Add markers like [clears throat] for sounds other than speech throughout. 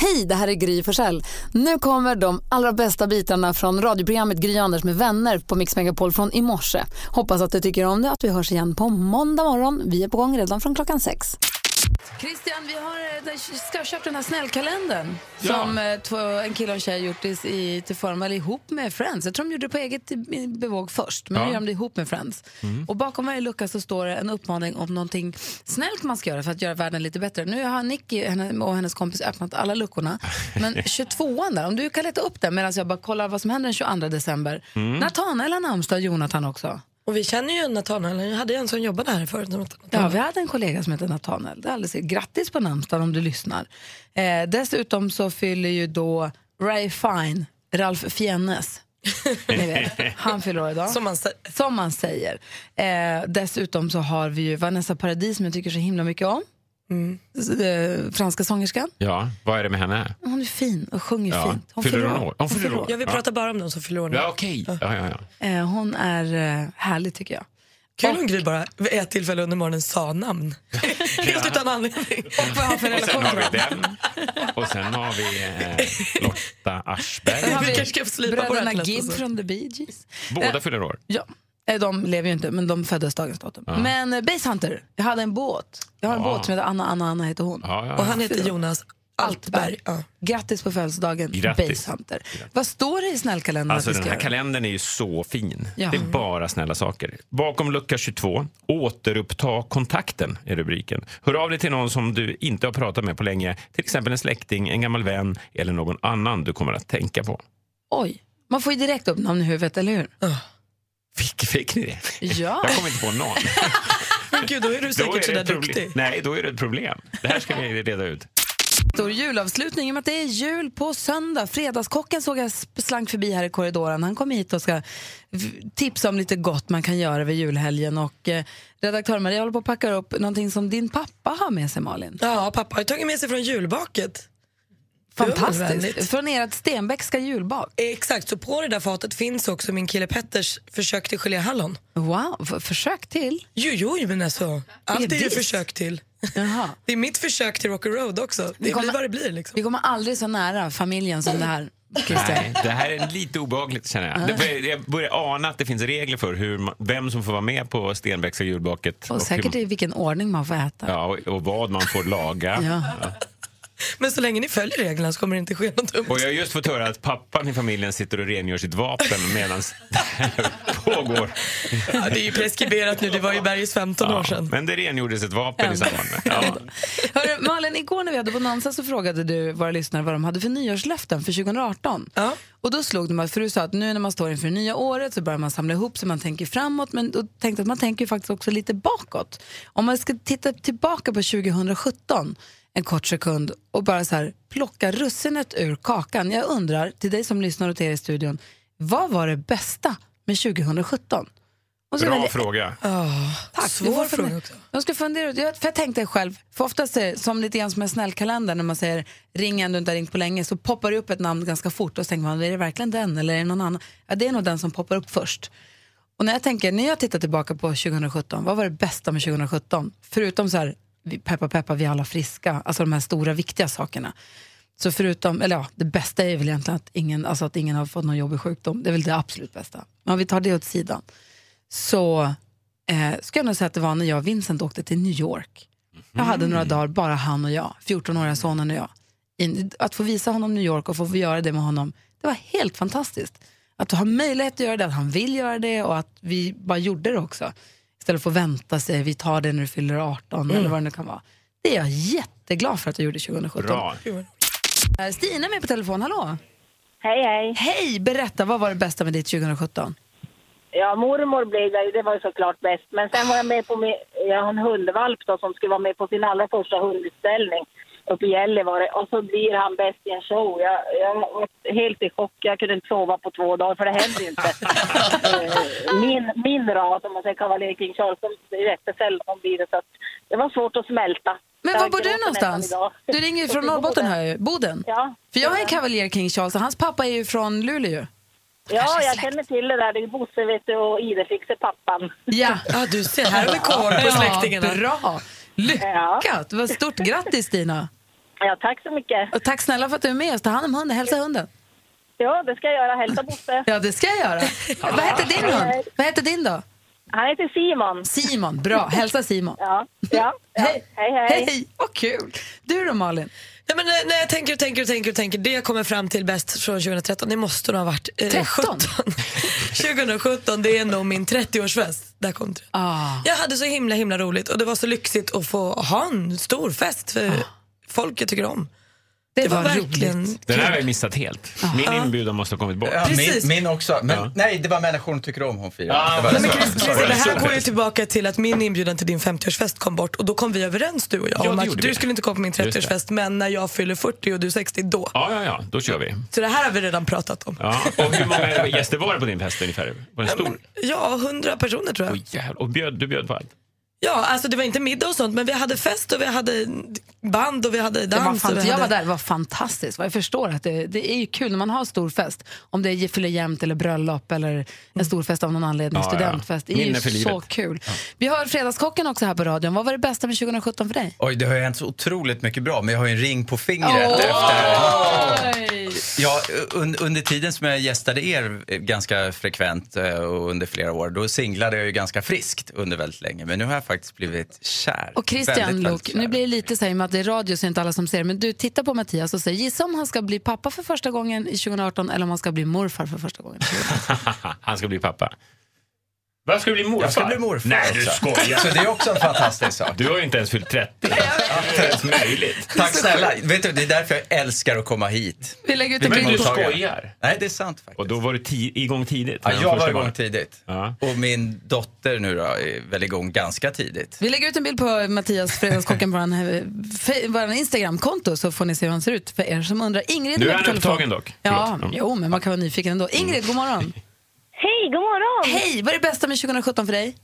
Hej, det här är Gry Forssell. Nu kommer de allra bästa bitarna från radioprogrammet Gry Anders med vänner på Mix Megapol från i morse. Hoppas att du tycker om det att vi hörs igen på måndag morgon. Vi är på gång redan från klockan sex. Christian, vi har, eh, ska ha köpt den här snällkalendern som eh, två, en kille och en tjej gjort i, i, till formal ihop med Friends. Jag tror de gjorde det på eget eh, bevåg först, men nu gör de det ihop med Friends. Och bakom varje lucka så står det en uppmaning om någonting snällt man ska göra för att göra världen lite bättre. Nu har Nicky henne- och hennes kompis öppnat alla luckorna, men 22an där, om du kan leta upp den medan jag bara kollar vad som händer den 22 december. Nathanael har namnsdag, och Jonathan också. Och vi känner ju Nathanael, jag hade ju en som jobbade här förut. Ja, vi hade en kollega som hette Nathanael. Det är alldeles Grattis på namnsdagen om du lyssnar. Eh, dessutom så fyller ju då Ray Fine, Ralf Fiennes, ni vet, han fyller år idag. Som man säger. Som man säger. Eh, dessutom så har vi ju Vanessa Paradis som jag tycker så himla mycket om. Mm. S- Eh, franska sångerskan. Ja, vad är det med henne? Hon är fin och sjunger Ja. fint. Fyller hon år? Hon fyller år. Ja, vi Ja. pratar bara om dem som fyller år nu. Ja, okej. Ja, ja, ja. Eh, hon är eh, härlig tycker jag. Kul om Gry bara vid ett tillfälle under morgonen sa namn. Helt utan [laughs] anledning. Och vad har för Och sen relation har vi den. Och sen har vi eh, Lotta Sen har Aschberg. vi kanske ska slipa på bröderna det här lite Gibb så. från The Bee Gees. Båda fyller år. Ja. Eh, De lever ju inte, men de föddes dagens datum. Men eh, Basehunter, jag hade en båt. Jag har en Ja. båt som heter Anna, Anna, Anna heter hon. Ja, ja, Och ja. han heter Jonas Altberg. Ja. Grattis på födelsedagen, Grattis. Basehunter. Vad står det i snällkalendern Alltså att vi den ska här göra? kalendern är ju så fin. Ja. Det är bara snälla saker. Bakom lucka 22, återuppta kontakten är rubriken. Hör av dig till någon som du inte har pratat med på länge. Till exempel en släkting, en gammal vän eller någon annan du kommer att tänka på. Oj, man får ju direkt upp namn i huvudet, eller hur? Fick, fick ni det? Ja. [laughs] Jag kommer inte på någon. Men gud, då är [laughs] du Då säkert är det sådär ett problem. duktig. Nej, då är det ett problem. Det här ska vi reda ut. Stor julavslutning i och med att det är jul på söndag. Fredagskocken såg jag sp- slank förbi här i korridoren. Han kom hit och ska v- tipsa om lite gott man kan göra över julhelgen. Och eh, redaktör Maria håller på att packa upp någonting som din pappa har med sig, Malin. Ja, pappa har ju tagit med sig från julbaket. Fantastiskt. Undervänligt. Från ert Stenbeckska julbak. Exakt, så på det där fatet finns också min kille Petters försök till geléhallon. Wow, f- försök till. Jo, jo, men alltså. Allt är ju ditt. försök till. Jaha. Det är mitt försök till Rocky Road också. Det kommer- blir vad det blir liksom. Vi kommer aldrig så nära familjen som det här. Nej, det här är lite obehagligt känner jag. Det börjar- Jag börjar ana att det finns regler för hur, ma- vem som får vara med på Stenbeckska julbaket. Och säkert hur, i vilken ordning man får äta. ja, och, och vad man får laga. Ja. Men så länge ni följer reglerna så kommer det inte ske något dumt. Och jag har just fått höra att pappan i familjen sitter och rengör sitt vapen medan [laughs] det här pågår. Ja, det är ju preskriberat nu, det var ju Bergs 15 år Ja, sedan. men det rengjordes ett vapen i samband med. Ja. Hörru, Malin, igår när vi hade bonanza så frågade du våra lyssnare vad de hade för nyårslöften för 2018. Ja. Och då slog det mig, för du sa att nu när man står inför det nya året så börjar man samla ihop sig, man tänker framåt, men då tänkte jag att man tänker ju faktiskt också lite bakåt. Om man ska titta tillbaka på 2017 en kort sekund och bara så här plocka russinet ur kakan. Jag undrar, till dig som lyssnar och till er i studion, vad var det bästa med 2017? Och så väljer- Bra fråga. Tack. Svår Du får fråga fundera- också. Jag ska fundera ut, jag- för jag tänkte själv, för oftast är det som lite grann som en snällkalender när man säger ring en du inte har ringt på länge så poppar det upp ett namn ganska fort och så tänker man, är det verkligen den eller är det någon annan? Ja, det är nog den som poppar upp först. Och när jag tänker, när jag tittar tillbaka på 2017, vad var det bästa med 2017? Förutom så här, vi- peppa peppa vi är alla friska, alltså de här stora viktiga sakerna. Så förutom, eller ja, det bästa är väl egentligen att ingen, alltså att ingen har fått någon jobbig sjukdom. Det är väl det absolut bästa. Men om vi tar det åt sidan så eh, ska jag nog säga att det var när jag och Vincent åkte till New York. Jag hade några dagar, bara han och jag, 14-åriga sonen och jag. In, att få visa honom New York och få göra det med honom, det var helt fantastiskt. Att ha möjlighet att göra det, att han vill göra det och att vi bara gjorde det också. Istället för att vänta sig, vi tar det när du fyller 18 eller vad det nu kan vara. Det är jag jätteglad för att jag gjorde 2017. Bra. Eh, Stina är med på telefon, hallå! Hej, hej. Hej, berätta, vad var det bästa med ditt 2017? Ja, mormor blev det, det var ju såklart bäst. Men sen var jag med på min, jag har en hundvalp då, som skulle vara med på sin allra första hundutställning. uppe i Gällivare och så blir han bäst i en show. Jag, jag var helt i chock. Jag kunde inte sova på två dagar för det hände ju inte. Eh, min, min rad, om man säger Cavalier King Charles, de- det är jättesällan blir det så att det var svårt att smälta. Men Jag var bor du gråter någonstans? nästan idag. Du ringer [laughs] från Uppe i Norrbotten Boden. hör jag ju. Boden? Ja. För jag har en kavaljer King Charles och hans pappa är ju från Luleå. Ja, jag känner till det där. Det är Bosse vet du, och Idefix är pappan. Ja. Ja, du ser. Här har vi koll på släktingarna. [laughs] Ja, bra! Lyckat! Vad stort grattis Stina! Ja, tack så mycket. Och tack snälla för att du är med oss. Ta hand om hunden, hälsa hunden. Ja, det ska jag göra. [laughs] Hälsa Bosse. Ja, det ska jag göra. Vad heter din hund? Vad heter din då? Han heter Simon. Simon, bra. Hälsa Simon. Ja, ja, ja. [laughs] Hej. hej, hej. Vad kul! Du då Malin? Nej, men, eh, när jag tänker och tänker och tänker och tänker, det jag kommer fram till bäst från 2013, det måste nog ha varit eh, 13? 17. [laughs] 2017, det är nog min 30-årsfest. Där kom det. Ah. Jag hade så himla himla roligt och det var så lyxigt att få ha en stor fest för folk jag tycker om. Ah. Det, Det var, var, verkligen roligt. Den här har kul. jag missat helt. Min inbjudan måste ha kommit bort. Ja, Precis. min, min också. Men Ja. nej, det var människor som tycker om hon firar. Ja, det var men det. Chris- Precis, det här går ju tillbaka till att min inbjudan till din 50-årsfest kom bort och då kom vi överens du och jag Ja, om det gjorde att du vi. skulle inte komma på min det. 30-årsfest men när jag fyller 40 och du 60 då. Ja, ja, ja, då kör vi. Så det här har vi redan pratat om. Ja. Och hur många gäster var det på din fest ungefär? Var den stor? Ja, 100 personer tror jag. Oj, jävlar. och bjöd, du bjöd på allt? [laughs] Ja, alltså det var inte middag och sånt men vi hade fest och vi hade band och vi hade Det var dans. och fant- vi jag hade... var där, det var fantastiskt. Jag förstår att det, det är ju kul när man har stor fest. Om det är fyller jämnt eller bröllop eller en stor fest av någon anledning, Ja, ja. studentfest. Det är Minne för ju så livet. kul. Vi har Fredagskocken också här på radion. Vad var det bästa med 2017 för dig? Oj, det har ju hänt så otroligt mycket bra, men jag har ju en ring på fingret efter. Ja, un, under tiden som jag gästade er eh, ganska frekvent eh, och under flera år, då singlade jag ju ganska friskt under väldigt länge. Men nu har jag faktiskt blivit kär. Och Christian Väldigt, väldigt Lok, kär. nu blir det lite så här, i och med att det är radio så är inte alla som ser, men du tittar på Mattias och säger gissa om han ska bli pappa för första gången i 2018 eller om han ska bli morfar för första gången. Han ska bli pappa. Vad ska du bli morfar? Jag ska bli morfar. Nej, du alltså. skojar. Så det är också en fantastisk sak. Du har ju inte ens fyllt 30. Det är inte ens möjligt. Tack snälla. Vet du, det är därför jag älskar att komma hit. Vi lägger ut en Men blir du bild på... mottagare. skojar. Nej, det är sant faktiskt. Och då var du ti- igång tidigt. Ja, med den jag var första igång barnet. tidigt. Ja. Och min dotter nu då är väl igång ganska tidigt. Vi lägger ut en bild på Mattias Fredagskocken på vår eh, fe- vår Instagramkonto så får ni se hur han ser ut för er som undrar. Ingrid Nu är med på han telefon. upptagen dock. Ja, Förlåt. Mm. jo, men man kan vara nyfiken ändå. Ingrid, god morgon. [laughs] Hej, god morgon! Hej, vad är det bästa med 2017 för dig?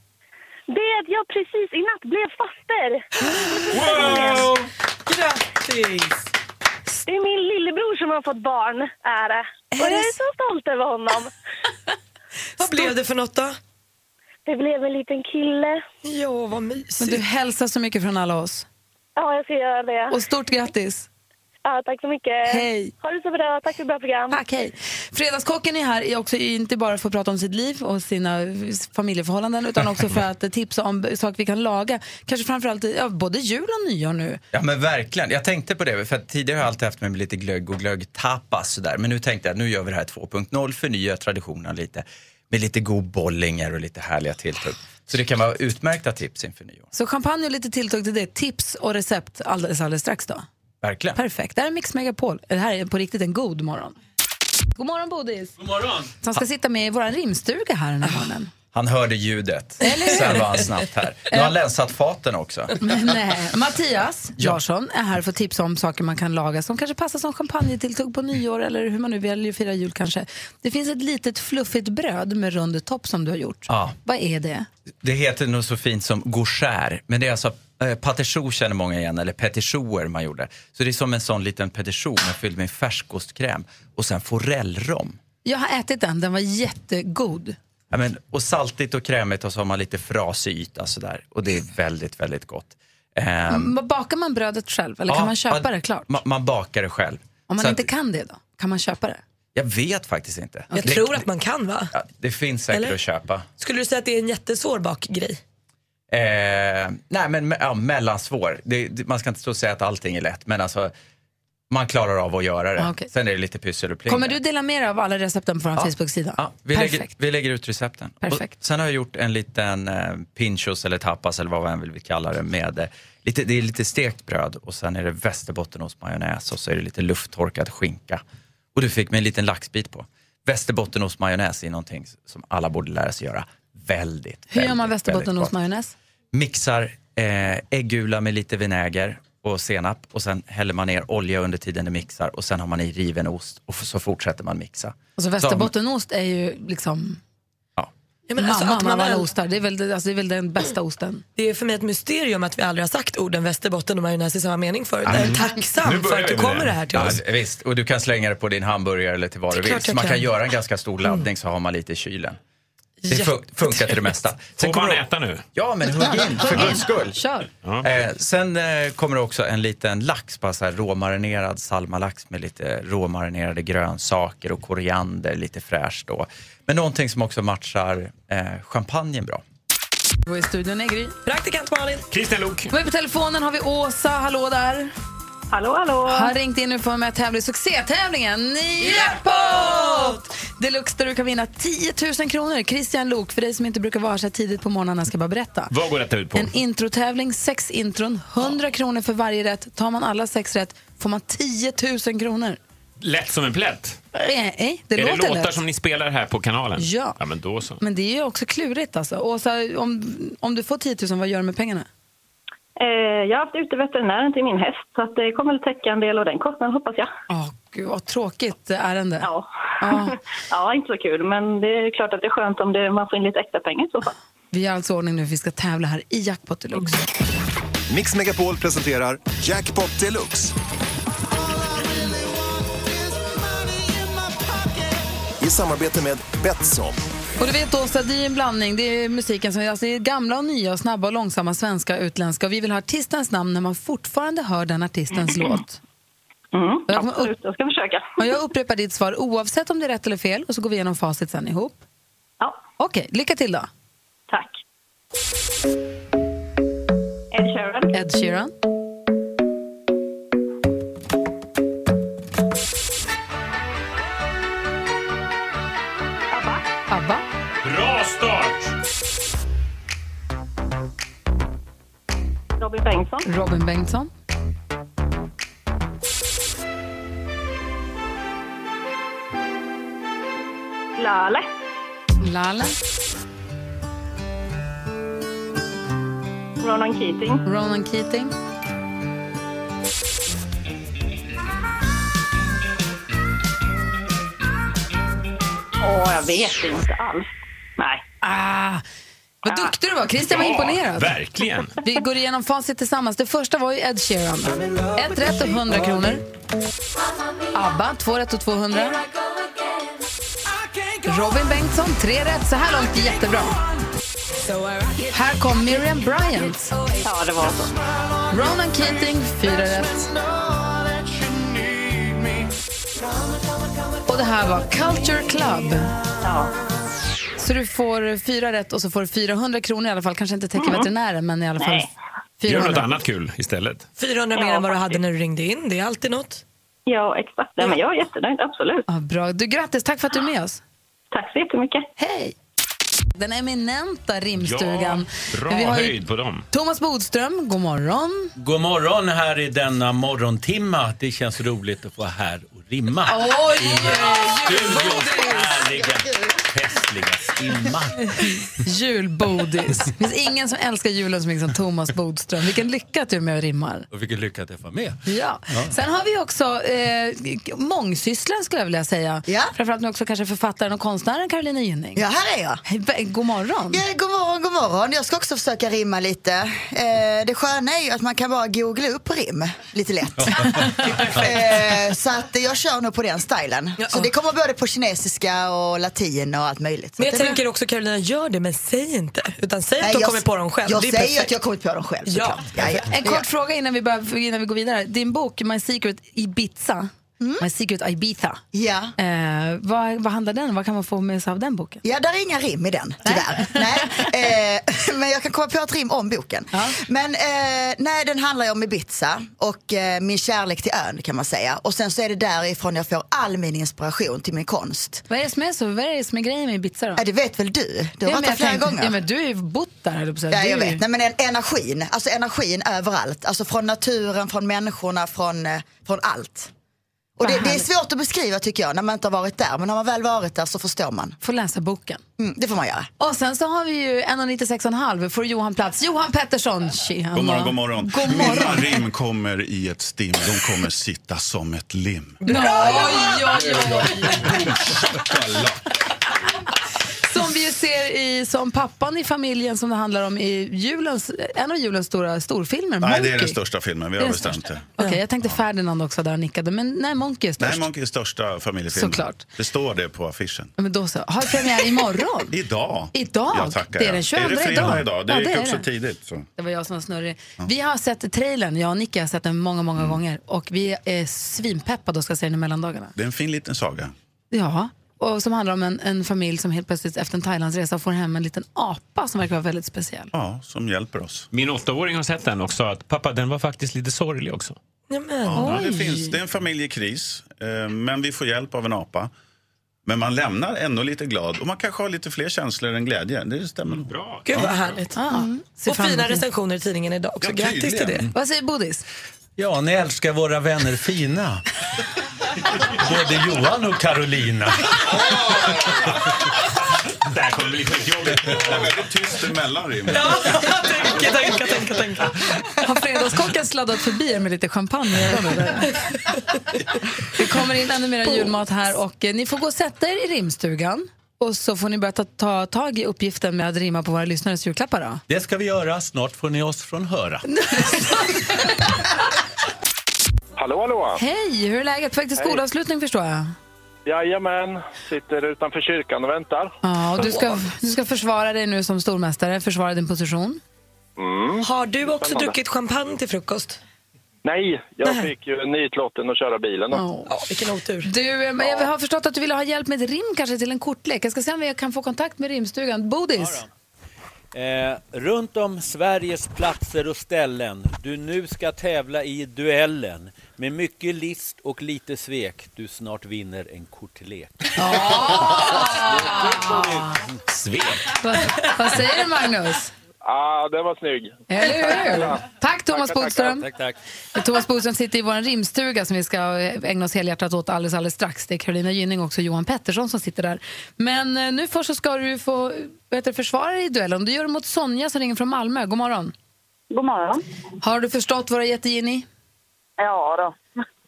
Det är att jag precis i natt blev faster. Wow! Grattis! Det är min lillebror som har fått barn, är det. Och jag är så stolt över honom. Vad blev det för något då? Det blev en liten kille. Ja, vad Men du mysigt. hälsar så mycket från alla oss. Ja, jag ska göra det. Och stort grattis. Ja, tack så mycket. Hej. Ha det så bra. Tack för ett bra program. Tack, hej. Fredagskocken är här är också inte bara för att prata om sitt liv och sina familjeförhållanden utan också [laughs] för att tipsa om saker vi kan laga. Kanske framförallt ja, både jul och nyår nu. Ja men verkligen. Jag tänkte på det, för att tidigare har jag alltid haft med mig lite glögg och glöggtapas sådär. Men nu tänkte jag, nu gör vi det här 2.0, förnya traditionen lite. Med lite god bollinger och lite härliga tilltugg. Så det kan vara utmärkta tips inför nyår. Så champagne och lite tilltugg till det. Tips och recept alldeles, alldeles strax då. Verkligen. Perfekt. Det här är Mix Megapol. Det här är på riktigt en god morgon. God morgon Bodis! God morgon! Som ska sitta med i vår rimstuga här den Ah. här morgonen. Han hörde ljudet. Eller hur? Sen var han snabbt här. Nu har han länsat faten också. Nej. eh, Mattias Larsson är här för att tipsa om saker man kan laga som kanske passar som champagnetilltugg på nyår eller hur man nu väljer att fira jul kanske. Det finns ett litet fluffigt bröd med rund topp som du har gjort. Ja. Vad är det? Det heter nog så fint som gougère, men det är alltså eh, Pâte choux känner många igen, eller petit chouxer man gjorde. Så det är som en sån liten petit choux men fylld med färskostkräm och sen forellrom. Jag har ätit den, den var jättegod. Ja, men, och saltigt och krämigt och så har man lite frasig yta sådär. Och det är väldigt, väldigt gott. Ehm, Men Bakar man brödet själv Mm, eller ja, kan man köpa det klart? Man, man bakar det själv. Om man Så inte att, kan det då, kan man köpa det? Jag vet faktiskt inte. Jag Det, tror att man kan va? ja, det finns säkert Eller? att köpa. Skulle du säga att det är en jättesvår bakgrej? Eh, nej, men me- ja, mellansvår. Det, det, man ska inte stå och säga att allting är lätt, men alltså man klarar av att göra det. Ah, okej. Sen är det lite pyssel och plingar. Kommer du dela med dig av alla recepten på vår Facebook-sida? Ja, vi, lägger, Perfekt. vi lägger ut recepten. Perfekt. Och sen har jag gjort en liten eh, pinchos eller tapas eller vad man vill kalla det med eh, lite, det är lite stekt bröd och sen är det västerbottenost majonnäs och så är det lite lufttorkad skinka. Och du fick mig en liten laxbit på. Västerbottenost majonnäs är någonting som alla borde lära sig göra väldigt, Hur gör man väldigt, väldigt gott. västerbottenost majonnäs? Mixar eh, äggula med lite vinäger och senap och sen häller man ner olja under tiden det mixar och sen har man i riven ost och f- så fortsätter man mixa. Alltså västerbottenost är ju liksom Ja, men mamman alltså, att av man alla väl- ostar. Det är, väl, alltså, det är väl den bästa osten. Det är för mig ett mysterium att vi aldrig har sagt orden Västerbotten och majonnäs i samma mening förut. Jag är Mm. Nu tacksam börjar för att du vi med kommer det. det här till Ja, oss. visst, och du kan slänga det på din hamburgare eller till vad Det du är vill. klart Så jag man kan kan. Mm. göra en ganska stor laddning så har man lite i kylen. Det fu- Jätte- funkar till det mesta. Sen Får man kommer det- äta nu? Ja, men hugg in för guds skull. Kör! Eh, sen eh, kommer det också en liten lax, bara så här råmarinerad salmalax med lite råmarinerade grönsaker och koriander, lite fräscht då. Men någonting som också matchar eh, champagnen bra. Och i studion är Gry. Praktikant Malin. Kristian Lok. Med på telefonen har vi Åsa, hallå där. Hallå, hallå! Har ringt in nu för att vara med och tävla i succétävlingen Jackpot! Deluxe där du kan vinna 10 000 kronor. Christian Lok, för dig som inte brukar vara så här tidigt på morgnarna, ska jag bara berätta. Vad går detta ut på? En introtävling, sex intron, 100 kronor för varje rätt. Tar man alla sex rätt får man 10 000 kronor. Lätt som en plätt. Nej, nej, det Är det låter låtar lätt. som ni spelar här på kanalen? Ja. Ja, men då så. Men det är ju också klurigt alltså. Åsa, om, om du får 10 000, vad gör du med pengarna? Eh, jag har haft ute veterinären till min häst så att det kommer att täcka en del av den kostnaden hoppas jag. Åh, gud vad tråkigt ärende. Ja. Ja. [laughs] ja, inte så kul men det är klart att det är skönt om det, man får in lite extra pengar i så fall. Vi har alltså ordning nu, vi ska tävla här i Jackpot Deluxe. Mix Megapol presenterar Jackpot Deluxe. I samarbete med Betsson. Och du vet Åsa, det är en blandning. Det är musiken som alltså, det är gamla och nya, och snabba och långsamma, svenska och utländska. Och vi vill ha artistens namn när man fortfarande hör den artistens låt. Mm, Jag kommer upp- absolut, jag ska försöka. Och jag upprepar ditt svar oavsett om det är rätt eller fel och så går vi igenom facit sen ihop. Ja, Okej, lycka till då. tack. Ed Sheeran, Ed Sheeran, ABBA, ABBA, Bra start! Robin Bengtsson, Robin Bengtsson, Laleh, Lale, Ronan Keating, Ronan Keating, Åh, jag vet inte alls. Nej. Ah, vad duktig du var! Christian var Ja, imponerad. verkligen. Vi går igenom facit tillsammans. Det första var ju Ed Sheeran. Ett rätt och 100 kronor. ABBA, två rätt och 200. Robin Bengtsson, tre rätt. Så här långt jättebra. Här kom Miriam Bryant. Ja, det var så. Ronan Keating, fyra rätt. Och det här var Culture Club. Ja. Så du får fyra rätt och så får du 400 kronor i alla fall. Kanske inte täcker veterinären, men i alla fall Mm. Nej. Gör något 400. annat kul istället. 400 mer Ja, än vad du hade när du ringde in. Det är alltid något. Ja, exakt. Nej, men jag är jättenöjd, absolut. Ja, bra. Du, grattis, tack för att du är med oss. Tack så jättemycket. Hej! Den eminenta rimstugan. Ja, bra Vi har ju höjd på dem. Thomas Bodström, god morgon. God morgon här i denna morgontimma. Det känns roligt att vara här och rimma. Oj! Studions härliga, festliga stimma. Julbodis. Det finns ingen som älskar julen så mycket som Thomas Bodström. Vilken lycka att du är med och rimmar. Och vilken lycka att jag får vara med. Ja. Sen har vi också eh, mångsysslaren skulle jag vilja säga. Ja. Framförallt nu också kanske författaren och konstnären Carolina Gynning. Ja, här är jag. Hej, vä- god morgon. Ja, god morgon, god morgon. Jag ska också försöka rimma lite. Eh, det sköna är ju att man kan bara googla upp rim lite lätt. [laughs] eh, så att jag kör nog på den stilen. Så det kommer både på kinesiska och latin och allt möjligt. Så Men jag att det- tänker också Carolina, gör det men säg inte. Utan säg Nej, att du har jag- kommit på dem själv. Jag det är säger perfekt. att jag har kommit på dem själv Ja. såklart. Ja. Ja, En kort fråga innan vi, börjar, innan vi går vidare. Din bok My Secret Ibiza, My Secret Ibiza. Mm. Ja. Eh, vad, vad handlar den om? Vad kan man få med sig av den boken? Ja, där är inga rim i den, tyvärr. Nej. Eh, [laughs] men jag kan komma på ett rim om boken. Men eh, nej, den handlar ju om Ibiza och eh, min kärlek till ön kan man säga. Och sen så är det därifrån jag får all min inspiration till min konst. Vad är det som är, så? Vad är, det som är grejen med Ibiza då? Ja, det vet väl du? Du har varit Ja, men där jag flera tänkte- gånger. Ja, men du har ju bott där höll jag på att säga. Ja, Du jag är ju- vet. Nej, men en- energin, alltså energin överallt. Alltså från naturen, från människorna, från, eh, från allt. Och det, Vad det är härligt. svårt att beskriva tycker jag när man inte har varit där. Men har man väl varit där så förstår man. Får läsa boken. Mm, det får man göra. Och sen så har vi ju 1,96,5 får Johan plats. Johan Pettersson. Tjena. God morgon, god morgon. God morgon. Mina rim kommer i ett stim. De kommer sitta som ett lim. Bra, oj, oj, oj. Som vi ju ser i, som pappan i familjen som det handlar om i julens, en av julens stora storfilmer, Nej, det är den Monkey. största filmen. Vi Det är har den bestämt det. Okej, jag tänkte Ferdinand också där och nickade, men nej, Monkey är Nej, störst. Monkey är största familjefilmen. Såklart. Det står det på affischen. men då så. Har premiär imorgon? [laughs] Idag. Idag? Ja, tackar det är jag. den 22 Är det fredag idag. idag? Det ja, gick är upp så det. tidigt. Så. Det var jag som var snurrig. Vi har sett trailern, jag och Nicky har sett den många, många Mm. gånger. Och vi är svinpeppade och ska se den i mellandagarna. Det är en fin liten saga. Ja, och som handlar om en, en familj som helt plötsligt efter en Thailandsresa får hem en liten apa som verkar vara väldigt speciell. Ja, som hjälper oss. Min åttaåring har sett den och sa att pappa, den var faktiskt lite sorglig också. Ja, det, Oj. finns, det är en familjekris, eh, men vi får hjälp av en apa. Men man lämnar ändå lite glad och man kanske har lite fler känslor än glädje. Det stämmer nog. Bra. Gud vad härligt. Mm. Och Mm. fram fina emot det. recensioner i tidningen idag också. Ja, Grattis till tydligen. det. Vad säger Bodis? Ja, ni älskar våra vänner fina. Både Johan och Carolina. Det här kommer bli skitjobbigt. Det är väldigt tyst emellan rimmen. Tänka, tänka, tänka, tänka. Har fredagskocken sladdat förbi er med lite champagne? i ögonen? Det kommer in ännu mer julmat här och eh, ni får gå och sätta er i rimstugan. Och så får ni börja ta, ta tag i uppgiften med att rimma på våra lyssnares julklappar då. Det ska vi göra. Snart får ni oss från höra. Hallå, hallå! Hej, hur är läget? På väg till Hej. skolavslutning förstår jag. Jajamän, sitter utanför kyrkan och väntar. Ja, och du ska, du ska försvara dig nu som stormästare, försvara din position. Har du också Mm. Spännande. druckit champagne till frukost? Nej, jag Nej. fick ju nitlotten att köra bilen. Då. Ja, vilken otur. Du, eh, men jag har förstått att du ville ha hjälp med ett rim kanske till en kortlek. Jag ska se om jag kan få kontakt med rimstugan. Bodis, Eh, runt om Sveriges platser och ställen du nu ska tävla i duellen med mycket list och lite svek du snart vinner en kortlek. Svek? Ah. vad, vad säger du Magnus? Ah, den var snygg. Eller hur? Tack Thomas Tackar, Bodström. tackar. Thomas Bodström sitter i vår rimstuga som vi ska ägna oss helhjärtat åt alldeles, alldeles strax. Det är Carolina Gynning och också Johan Pettersson som sitter där. Men eh, nu först så ska du få vet du, försvara dig i duellen. Du gör det mot Sonja som ringer från Malmö. God morgon. God morgon. Har du förstått våra jättegini? Ja då.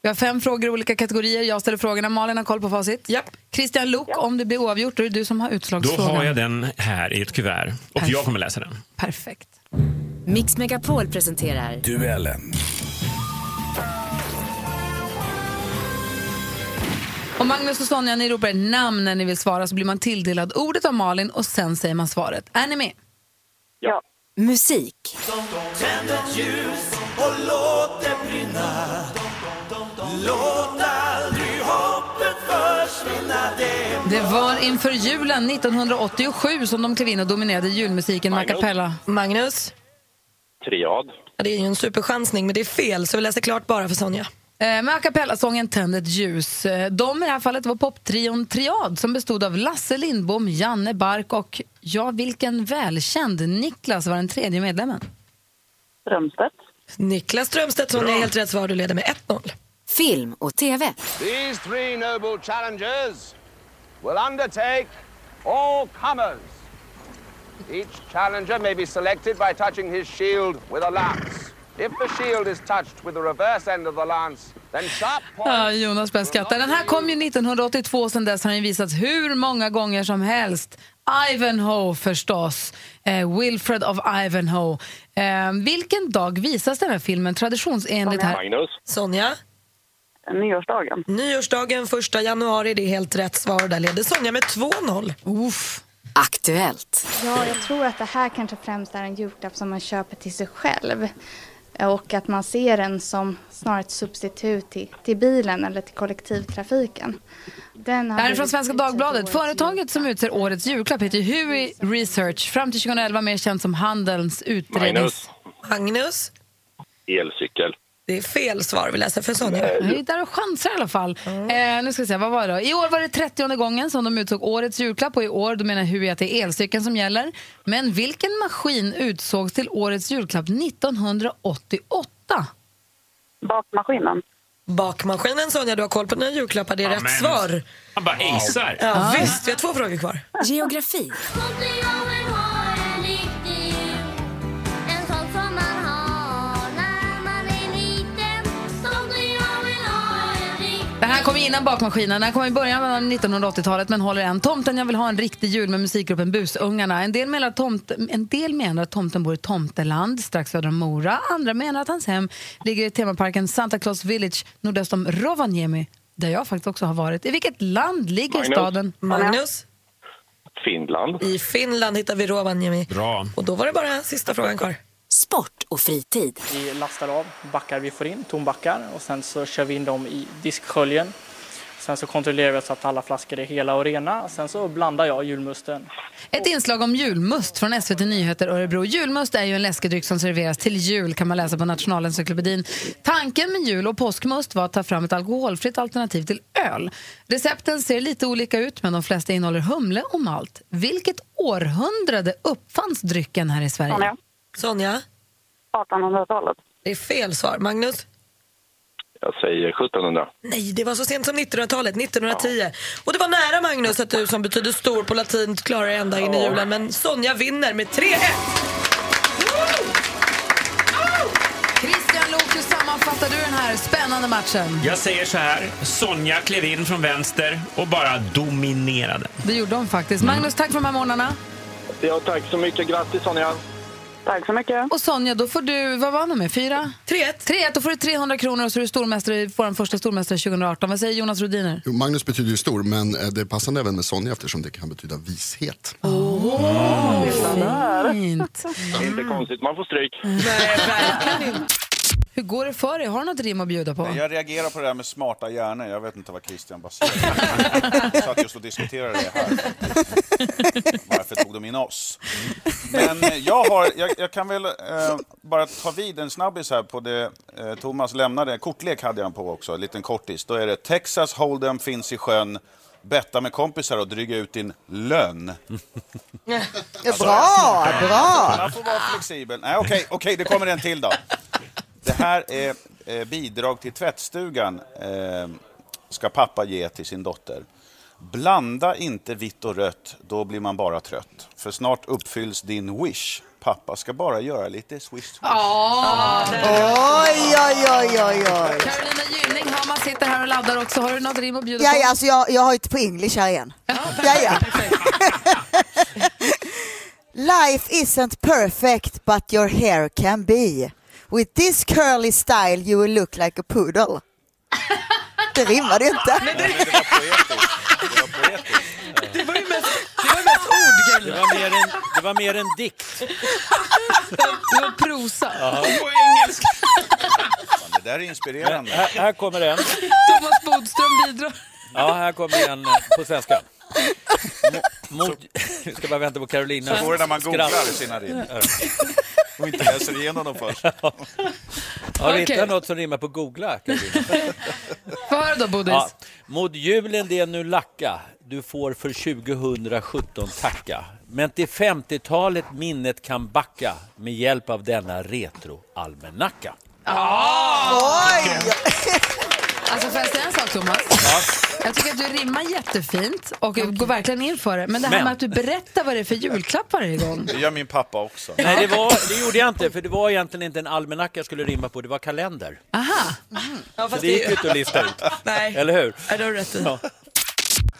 Vi har fem frågor i olika kategorier. Jag ställer frågorna. Malin har koll på facit. Japp. Christian Lok, om det blir oavgjort, då är det du som har Då utslagsfrågan. har jag den här i ett kuvert och jag kommer läsa den. Perfekt. Mix Megapol presenterar Duellen. Och Magnus och Sonja, ni ropar ett namn när ni vill svara så blir man tilldelad ordet av Malin och sen säger man svaret. Är ni med? Ja. musik. Tänd ett ljus och låt det brinna Låt aldrig hoppet försvinna Det Det var inför julen 1987 som de klev in och dominerade julmusiken med a cappella. Magnus? Triad. Ja, det är ju en superchansning, men det är fel, så vi läser klart bara för Sonja. Eh, Med a cappella-sången Tänd ett ljus. Eh, De i det här fallet var poptrion Triad som bestod av Lasse Lindbom, Janne Bark och, ja, vilken välkänd Niklas var den tredje medlemmen. Strömstedt. Niklas Strömstedt, Sonja är helt rätt svar. Du leder med 1-0. Film och TV. These three noble challengers will undertake all comers. Each challenger may be selected by touching his shield with a lance. If the shield is touched with the reverse end of the lance, then sharp Ja, Jonas börjar skratta. Den här kom ju 1982, sen dess har den visats hur många gånger som helst. Ivanhoe förstås, eh, Wilfred of Ivanhoe. Eh, vilken dag visas den här filmen traditionsenligt här? Sonja? Nyårsdagen. Nyårsdagen, första januari, det är helt rätt svar. Där leder Sonja med 2-0. Uff. Aktuellt. Ja, jag tror att det här kanske främst är en julklapp som man köper till sig själv. Och att man ser den som snarare ett substitut till, till bilen eller till kollektivtrafiken. Den Det har här är från blivit Svenska utsedd Dagbladet. årets Företaget som utser årets julklapp heter Hui Research. Fram till 2011 mer känt som Handelns utrednings... Magnus. Magnus? Elcykel. Det är fel svar. Vi läser för Sonja. Mm. Ja, Vi Eh, är där och chansar i alla fall. Eh, nu ska vi se, vad var det då? I år var det 30 gången som de utsåg årets julklapp och i år då menar Hui att det är elcykeln som gäller. Men vilken maskin utsågs till årets julklapp 1988? Mm. Bakmaskinen. Bakmaskinen Sonja, du har koll på dina julklappar. Det är Ja, rätt men- svar. Han bara ängsar. Ja, Visst, vi har två frågor kvar. Geografi. Den här kom ju innan bakmaskinen. Den här kom i början av 1980-talet men håller än. Tomten jag vill ha en riktig jul med musikgruppen Busungarna. En del menar att, tomt, en del menar att tomten bor i Tomteland strax söder om Mora. Andra menar att hans hem ligger i temaparken Santa Claus Village nordöst om Rovaniemi där jag faktiskt också har varit. I vilket land ligger Magnus. staden? Magnus, Finland. i Finland hittar vi Rovaniemi. Bra. Och då var det bara sista frågan kvar. Sport och fritid. Vi lastar av backar vi får in, tombackar, och sen så kör vi in dem i disksköljen. Sen så kontrollerar vi så att alla flaskor är hela och rena. Sen så blandar jag julmusten. Ett inslag om julmust från SVT Nyheter Örebro. Julmust är ju en läskedryck som serveras till jul kan man läsa på Nationalencyklopedin. Tanken med jul och påskmust var att ta fram ett alkoholfritt alternativ till öl. Recepten ser lite olika ut men de flesta innehåller humle och malt. Vilket århundrade uppfanns drycken här i Sverige? Sonja? 1800-talet. Det är fel svar. Magnus? Jag säger 1700. Nej, det var så sent som 1900-talet, 1910. Och det var nära Magnus att du som betyder stor på latin klarar dig ända in i Ja. julen. Men Sonja vinner med 3-1. Christian Lok, hur sammanfattar du den här spännande matchen? Jag säger så här, Sonja klev in från vänster och bara dominerade. Det gjorde de faktiskt. Magnus, tack för de här morgnarna. Ja, tack så mycket. Grattis Sonja. Tack så mycket. Och Sonja, då får du, vad vann du med? Fyra? 3-1. 3-1, då får du 300 kronor och så är du stormästare, i vår första stormästare 2018. Vad säger Jonas Rodiner? Jo, Magnus betyder ju stor, men eh, det är passande även med Sonja eftersom det kan betyda vishet. Fint. Inte konstigt, man får stryk. Hur går det för dig? Har du något rim att bjuda på? Jag reagerar på det här med smarta hjärnor. Jag vet inte vad Christian baserar Jag satt just och diskuterade det här. Varför tog de in oss? Men eh, jag, har, jag, jag kan väl eh, bara ta vid en snabbis här på det eh, Thomas lämnade. Kortlek hade han på också, en liten kortis. Då är det Texas Hold'em finns i sjön. Betta med kompisar och dryga ut din lön. Bra, bra! Man får vara flexibel. Nej, okej, okej, det kommer en till då. Det här är eh, bidrag till tvättstugan eh, ska pappa ge till sin dotter. Blanda inte vitt och rött, då blir man bara trött. För snart uppfylls din wish. Pappa ska bara göra lite swish. Oj, oj, oj, oj, oj. Carolina Gynning, Hammar sitter här och laddar också. Har du något rim att bjuda Ja, på? ja, alltså jag, jag har ju på English här igen. Ja, ja. [laughs] Life isn't perfect but your hair can be. With this curly style you will look like a [laughs] poodle. Det rimmade ju inte. Det var ju mest, det var ju mest ord, Det var mer en, det var mer en [laughs] dikt. Det var prosa. Ja. Det där är inspirerande. Här, här kommer [laughs] en. Thomas Bodström bidrar. Ja, här kommer en eh, på svenska. Mo- Mot, [laughs] nu ska bara vänta på Carolina. Så går det när man googlar sina rim. Och inte läser igenom dem först. Har du Okej. hittat något som rimmar på googla, Carolina? Få höra då, [laughs] Bodis. Ja. Mot julen det nu lacka, du får för 2017 tacka. Men till 50-talet minnet kan backa med hjälp av denna retroalmanacka. Oj! Alltså får jag säga en sak Thomas? Jag tycker att du rimmar jättefint och går verkligen in för det. Men det här Men. med att du berättar vad det är för julklapp varje gång. Det gör min pappa också. Nej, det, var, det gjorde jag inte, för det var egentligen inte en almanacka jag skulle rimma på, det var kalender. Ja, Så fast det gick ju inte att lista ut. [laughs] Nej. Eller hur? Ja, det har du rätt i.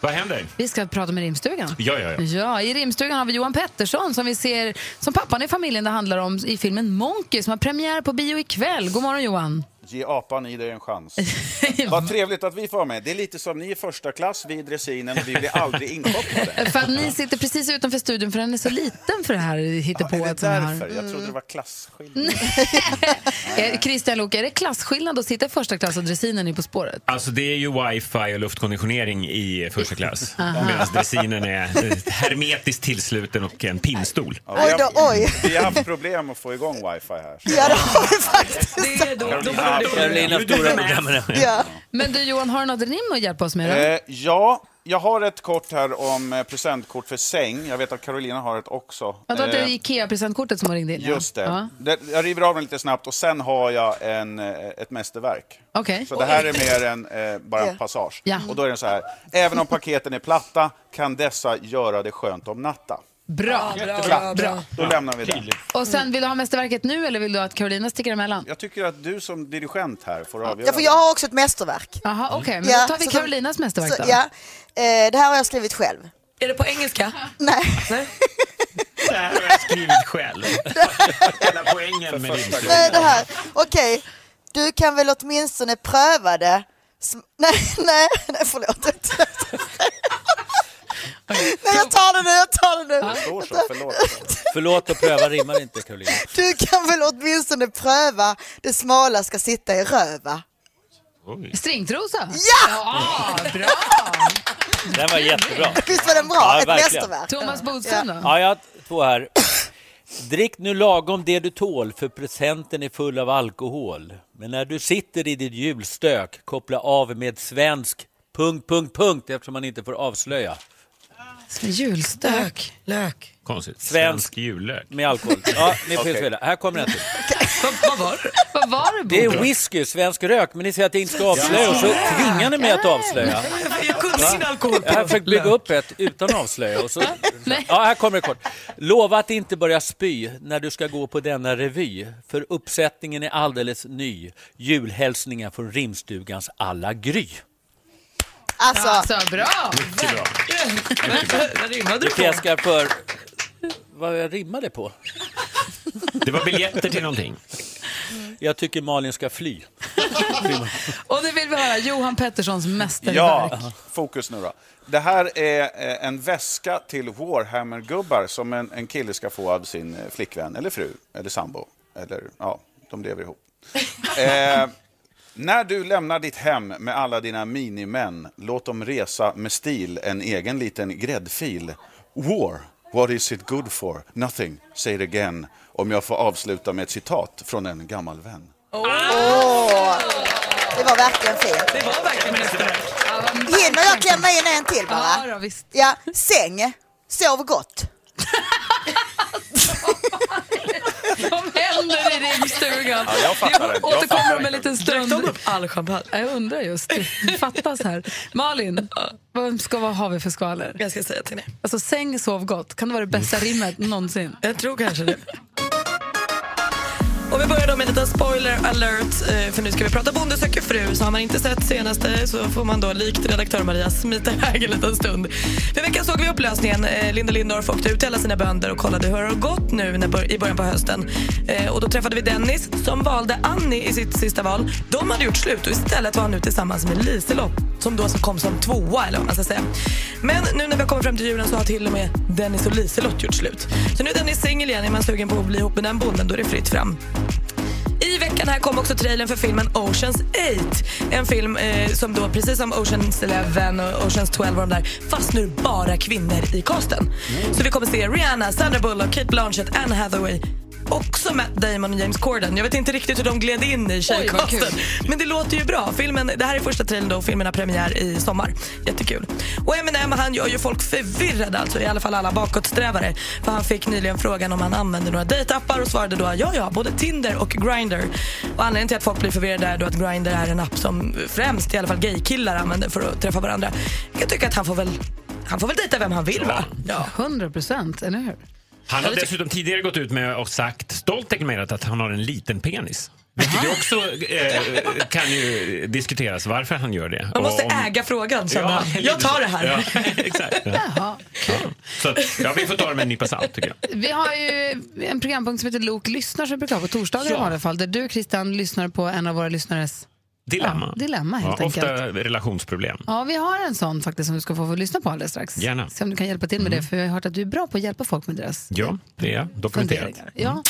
Vad händer? Vi ska prata med rimstugan. Ja, ja, ja. Ja, i rimstugan har vi Johan Pettersson som vi ser som pappan i familjen det handlar om i filmen Monkey som har premiär på bio ikväll. God morgon Johan. Ge apan i dig en chans. Vad trevligt att vi får vara med. Det är lite som ni i första klass, vi i dressinen och vi blir aldrig inkopplade. För att ni sitter precis utanför studion för den är så liten för det här hittepået som vi har. Därför. Jag trodde det var klasskillnad. [laughs] Eh, Christian Luuk, är det klasskillnad att sitta i första klass och dressinen är På spåret? Alltså det är ju wifi och luftkonditionering i första klass. Aha. Medan dressinen är eh, hermetiskt tillsluten och en pinnstol. vi, har, då, oj. vi har haft problem att få igång wifi här. Ja, det har vi faktiskt. Carolina, Carolinas stora Ja. programledare. Ja. Men du Johan, har du något rim att hjälpa oss med? Då? Eh, ja, jag har ett kort här om eh, presentkort för säng. Jag vet att Carolina har ett också. Ja, då var Eh, det Ikea-presentkortet som ringde in. ja. Just det. Ja. det. Jag river av den lite snabbt och sen har jag en, eh, ett mästerverk. Okej. Så det här är mer än eh, bara en Ja. passage. Ja. Och då är den så här. Även om paketen är platta kan dessa göra det skönt om natta. Bra. Platt. Då lämnar vi det. Och sen, vill du ha mästerverket nu eller vill du att Carolina sticker emellan? Jag tycker att du som dirigent här får avgöra. Ja, för jag har också ett mästerverk. Mm. Jaha, okej. men då tar vi så- Carolinas mästerverk så- då. Ja, eh, det här har jag skrivit själv. Är det på engelska? Nej. Det här har jag skrivit själv. Hela poängen med din Nej, det här. Okej, du kan väl åtminstone pröva det. Sm- [laughs] nej, nej, nej, förlåt. [laughs] nej, jag tar det nu, jag tar det nu. [laughs] Förlåt att pröva rimmar inte Karolina. Du kan väl åtminstone pröva det smala ska sitta i röva. Stringtrosa? Ja! bra. Den var jättebra. [laughs] Visst var den bra? Ja, Ett verkligen. mästerverk. Thomas Bodström då? Ja, jag har två här. Drick nu lagom det du tål, för presenten är full av alkohol. Men när du sitter i ditt julstök, koppla av med svensk... Punkt, punkt, punkt, eftersom man inte får avslöja. Julstök. Lök. Konstigt. Svensk jullök. Med alkohol. Ja, ni får Okej. spela. Här kommer den till. Vad var det? Vad var det, Det är Bodström? whisky, svensk rök, men ni säger att jag inte ska avslöja och så tvingar ni mig att avslöja. Jag kunde sin alkohol. Jag har försökt bygga upp ett utan avslöja. Och så... ja, här kommer det kort. Lova att inte börja spy när du ska gå på denna revy, för uppsättningen är alldeles ny. Julhälsningar från rimstugans alla Gry. Alltså, bra. Mycket bra. Vad rimmade du Du på? fjäskar för... Vad jag rimmade på? Det var biljetter till någonting. Jag tycker Malin ska fly. Och nu vill vi höra Johan Petterssons mästerverk. Ja, fokus nu då. Det här är eh, en väska till Warhammer-gubbar som en, en kille ska få av sin eh, flickvän eller fru eller sambo. Eller ja, de lever ihop. Eh, när du lämnar ditt hem med alla dina minimän, låt dem resa med stil en egen liten gräddfil. War, what is it good for? Nothing, say it again. Om jag får avsluta med ett citat från en gammal vän. Åh, det var verkligen fint. Det var verkligen mästerverk. Hinner jag klämma in en till bara? Ja, då, visst. Ja, säng, sov gott. Vad händer i rimstugan? Ja, jag fattar det. Vi Jag fattar återkommer om det. en liten stund. Drack de upp all champagne? Jag undrar just. Det fattas här. Malin, vad, ska, vad har vi för skvaller? Jag ska säga till dig. Alltså, säng, sov gott. Kan det vara det bästa rimmet någonsin? Jag tror kanske det. Och vi börjar då med lite spoiler alert, eh, för nu ska vi prata Bonde söker fru. Så har man inte sett senaste så får man då likt redaktör Maria smita iväg en liten stund. För veckan såg vi upplösningen. Eh, Linda Lindorff åkte ut till alla sina bönder och kollade hur det har gått nu när, bör- i början på hösten. Eh, Och då träffade vi Dennis som valde Annie i sitt sista val. De hade gjort slut och istället var han nu tillsammans med Liselott som då alltså kom som tvåa eller vad man ska säga. Men nu när vi har kommit fram till julen så har till och med Dennis och Liselott gjort slut. Så nu är Dennis singel igen. Är man sugen på att bli ihop med den bonden då är det fritt fram. I veckan här kom också trailern för filmen Oceans 8. En film eh, som då precis som Oceans 11 och Oceans 12 och de där fast nu bara kvinnor i casten. Så vi kommer se Rihanna, Sandra Bullock, Kate Blanchett, Anne Hathaway Också Matt Damon och James Corden. Jag vet inte riktigt hur de gled in i tjejcasten. Men det låter ju bra. Filmen, det här är första trailern då och filmen har premiär i sommar. Jättekul. Och Eminem han gör ju folk förvirrade, alltså i alla fall alla bakåtsträvare. För han fick nyligen frågan om han använde några dejtappar och svarade då ja, ja, både Tinder och Grindr. Och anledningen till att folk blir förvirrade är då att Grindr är en app som främst i alla fall gaykillar använder för att träffa varandra. Jag tycker att han får väl, han får väl dejta vem han vill va? Ja. 100 procent, eller hur? Han typ- har dessutom tidigare gått ut med och sagt, stolt deklarerat att han har en liten penis. Vilket ju också eh, kan ju diskuteras varför han gör det. Man måste Och om- äga frågan känner Ja, han. Jag tar det här. Ja, [laughs] [laughs] exakt. Ja. Så att, ja, vi får ta det med en nypa salt tycker jag. Vi har ju en programpunkt som heter Lok lyssnar som brukar vara på torsdagar i Ja. vanliga fall. Där du, Christian, lyssnar på en av våra lyssnares Dilemma. Ja, dilemma, helt ja, enkelt. ofta relationsproblem. Ja, vi har en sån faktiskt som du ska få, få lyssna på alldeles strax. Gärna. Se om du kan hjälpa till med det, för jag har hört att du är bra på att hjälpa folk med deras Ja, det är dokumenterat. funderingar. Ja.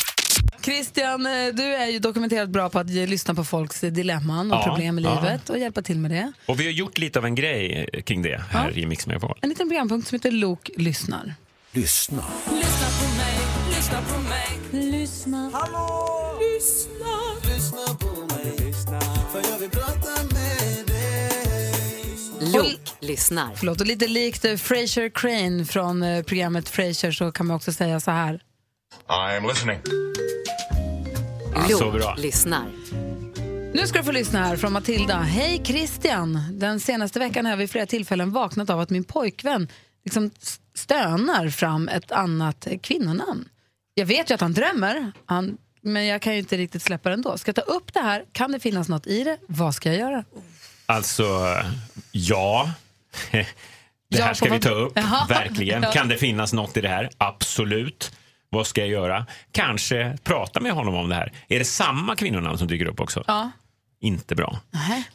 Christian, eh, du är ju dokumenterat bra på att ge- lyssna på folks eh, dilemman och Ja, problem i ja. livet och hjälpa till med det. Och vi har gjort lite av en grej eh, kring det här i Mix Megapol. En liten programpunkt som heter Lok lyssnar. Lyssna. Lyssna på mig, lyssna på mig. Lyssna. Hallå! Lyssna. Lyssna på mig. Lyssna. För jag vill prata med dig. lyssnar. Förlåt, och lite likt eh, Fraser Crane från eh, programmet Fraser så kan man också säga så här. I'm listening. Så bra. lyssnar. Nu ska du få lyssna här från Matilda. Hej Christian! Den senaste veckan har jag vid flera tillfällen vaknat av att min pojkvän liksom s- stönar fram ett annat eh, kvinnonamn. Jag vet ju att han drömmer, han, men jag kan ju inte riktigt släppa det ändå. Ska jag ta upp det här? Kan det finnas något i det? Vad ska jag göra? Alltså, ja. Det här Ja, ska på vi vad- ta upp, Jaha. verkligen. Ja. Kan det finnas något i det här? Absolut. Vad ska jag göra? Kanske prata med honom om det här. Är det samma kvinnonamn som dyker upp också? Ja. Inte bra.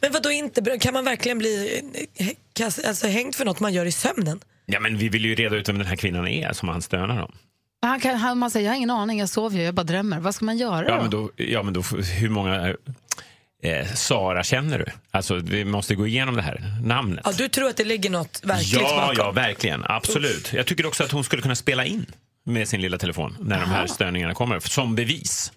Men vadå inte bra? Kan man verkligen bli eh, kas- alltså, hängd för något man gör i sömnen? Ja, men vi vill ju reda ut vem den här kvinnan är som han stönar om. Men Han kan, han, man säger, jag har ingen aning, jag sover ju, jag bara drömmer. Vad ska man göra Ja, då? men då, ja, men då hur många eh, Sara känner du? Alltså, vi måste gå igenom det här namnet. Ja, du tror att det ligger något verkligt Ja, bakom? ja, verkligen. Absolut. Jag tycker också att hon skulle kunna spela in med sin lilla telefon när de här störningarna kommer, som bevis.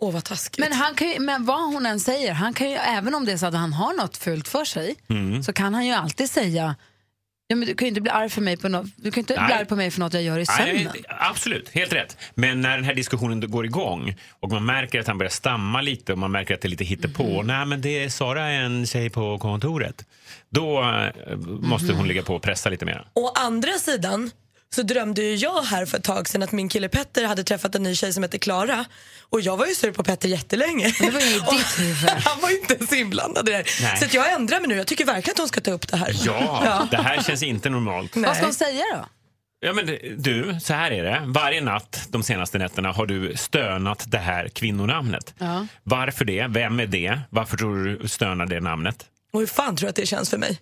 Åh, vad taskigt. Men, han kan ju, men vad hon än säger, han kan ju, även om det är så att han har något fult för sig, Mm. så kan han ju alltid säga ja, men du kan ju inte bli arg, för mig på något, du kan ju inte Nej. bli arg på mig för något jag gör i Nej, sömnen. absolut, helt rätt. Men när den här diskussionen då går igång och man märker att han börjar stamma lite och man märker att det är lite hittepå. Nej, men det är Sara är en tjej på kontoret. Då eh, måste hon ligga på och pressa lite mer. Å andra sidan så drömde ju jag här för ett tag sedan att min kille Petter hade träffat en ny tjej som hette Klara och jag var ju sur på Petter jättelänge. Det var [laughs] ju ditt huvud. Han var ju inte ens inblandad i det här. Nej. Så att jag ändrar mig nu. Jag tycker verkligen att hon ska ta upp det här. Ja, det här känns inte normalt. Vad ska hon säga då? Ja, men du, så här är det. Varje natt de senaste nätterna har du stönat det här kvinnonamnet. Ja. Varför det? Vem är det? Varför tror du du stönar det namnet? Och hur fan tror du att det känns för mig?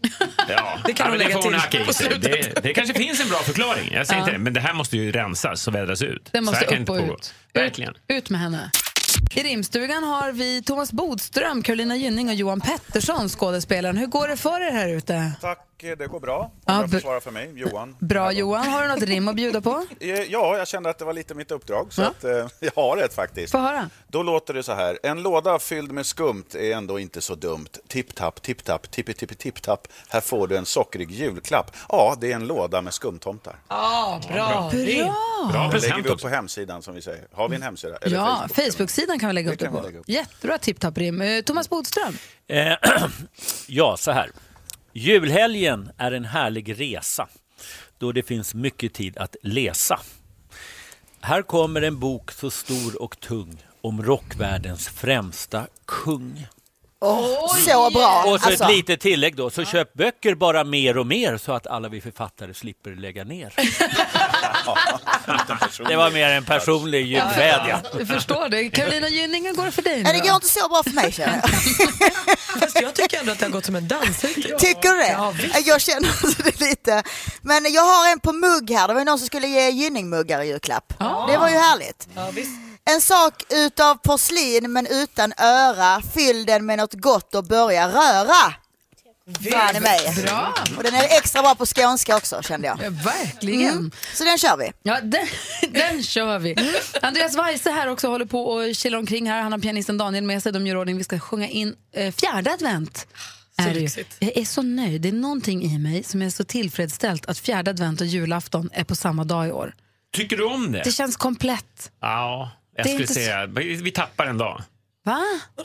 Ja, Det kan men hon lägga får hon till hacka i på sig. slutet. det, det kanske finns en bra förklaring, jag säger Ja. inte det. Men det här måste ju rensas och vädras ut. Det måste så här kan upp inte och pågå. ut. Verkligen. Ut med henne. I rimstugan har vi Thomas Bodström, Carolina Gynning och Johan Pettersson, skådespelaren. Hur går det för er här ute? Tack, eh, det går bra. Om Ja, jag br- får svara för mig, Johan. Bra Johan, har du något rim att bjuda [laughs] på? Eh, Ja, jag kände att det var lite mitt uppdrag, så Ja. att, eh, [laughs] jag har ett faktiskt. Få höra. Då låter det så här. En låda fylld med skumt är ändå inte så dumt. Tipp-tapp, tipp-tapp, tippi-tippi-tipp-tapp. Här får du en sockrig julklapp. Ja, det är en låda med skumtomtar. Ja, bra. Den lägger vi upp på hemsidan som vi säger. Har vi en hemsida? Eller Ja, Facebook? Facebook-sidan kan vi lägga upp det kan vi på. lägga upp. Jättebra tipptapp-rim. Eh, Thomas Bodström, Eh, [clears throat] ja, så här. Julhelgen är en härlig resa då det finns mycket tid att läsa. Här kommer en bok så stor och tung om rockvärldens främsta kung. Åh, så bra! Och så alltså. ett litet tillägg då, så köp böcker bara mer och mer så att alla vi författare slipper lägga ner. det var mer en personlig julvädjan. du förstår det. Carolina Gynning, hur går det för dig nu Nej, det då? går inte så bra för mig känner jag. [laughs] Fast jag tycker ändå att det har gått som en dans. Tycker du det? Ja, visst. jag känner [laughs] också det lite. Men jag har en på mugg här. Det var någon som skulle ge Gynning-muggar i julklapp. Det var ju härligt. Ja, visst. En sak utav porslin men utan öra. Fyll den med något gott och börja röra. Fan i mig. Bra. Och den är extra bra på skånska också kände jag. Verkligen. Mm. Så den kör vi. Mm. Ja, den, [laughs] den kör vi. Andreas Weise här också håller på och kilar omkring här. Han har pianisten Daniel med sig. De gör ordning. Vi ska sjunga in eh, fjärde advent. Så är det ju. lyxigt. Jag är så nöjd. Det är någonting i mig som är så tillfredsställt att fjärde advent och julafton är på samma dag i år. Tycker du om det? Det känns komplett. Ja, jag Det är skulle inte så- säga vi vi tappar en dag. Va? Ja,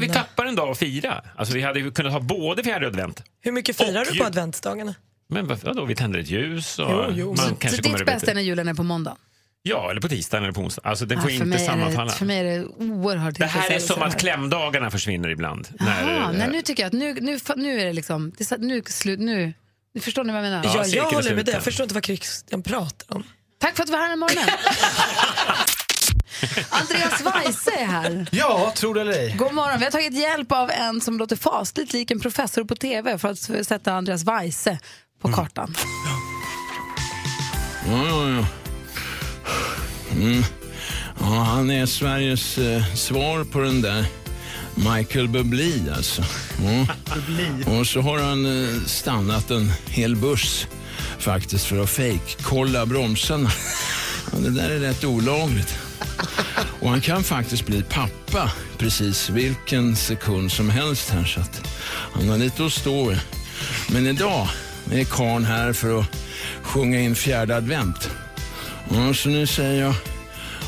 vi tappar en dag att fira. Alltså, vi hade ju kunnat ha både fjärde advent Hur mycket firar Och du jul. på adventsdagarna? men varför- vadå, vi tänder ett ljus och Jo, jo. man Så kanske så kommer ditt över bästa är till... när julen är på måndag? Ja, eller på tisdagen eller på onsdagen. Alltså, det Ah, får för, inte mig är sammanfalla. det, för mig är det oerhört Det här är tillfredsställelse som att här. klämdagarna försvinner ibland. Jaha, när, eh, nej, nu tycker jag att nu, nu, nu är det liksom, det är så- nu, slut, nu, nu förstår ni vad jag menar? Ja, Ja, jag cirkeln är håller med dig. sluten. Jag förstår inte vad Christian pratar om. Tack för att du var här den här [laughs] morgonen. Andreas Weise är här. Ja, tror det eller ej. God morgon. Vi har tagit hjälp av en som låter fasligt lik en professor på tv för att sätta Andreas Weise på Mm. kartan. Ja, ja, ja. Mm. ja han är Sveriges eh, svar på den där Michael Bublé alltså. Ja. Och så har han eh, stannat en hel buss faktiskt för att fake-kolla bromsarna. Ja, det där är rätt olagligt. Och han kan faktiskt bli pappa precis vilken sekund som helst här så att han har lite att stå i. Men idag Nu är karn här för att sjunga in fjärde advent. Ja, så nu säger jag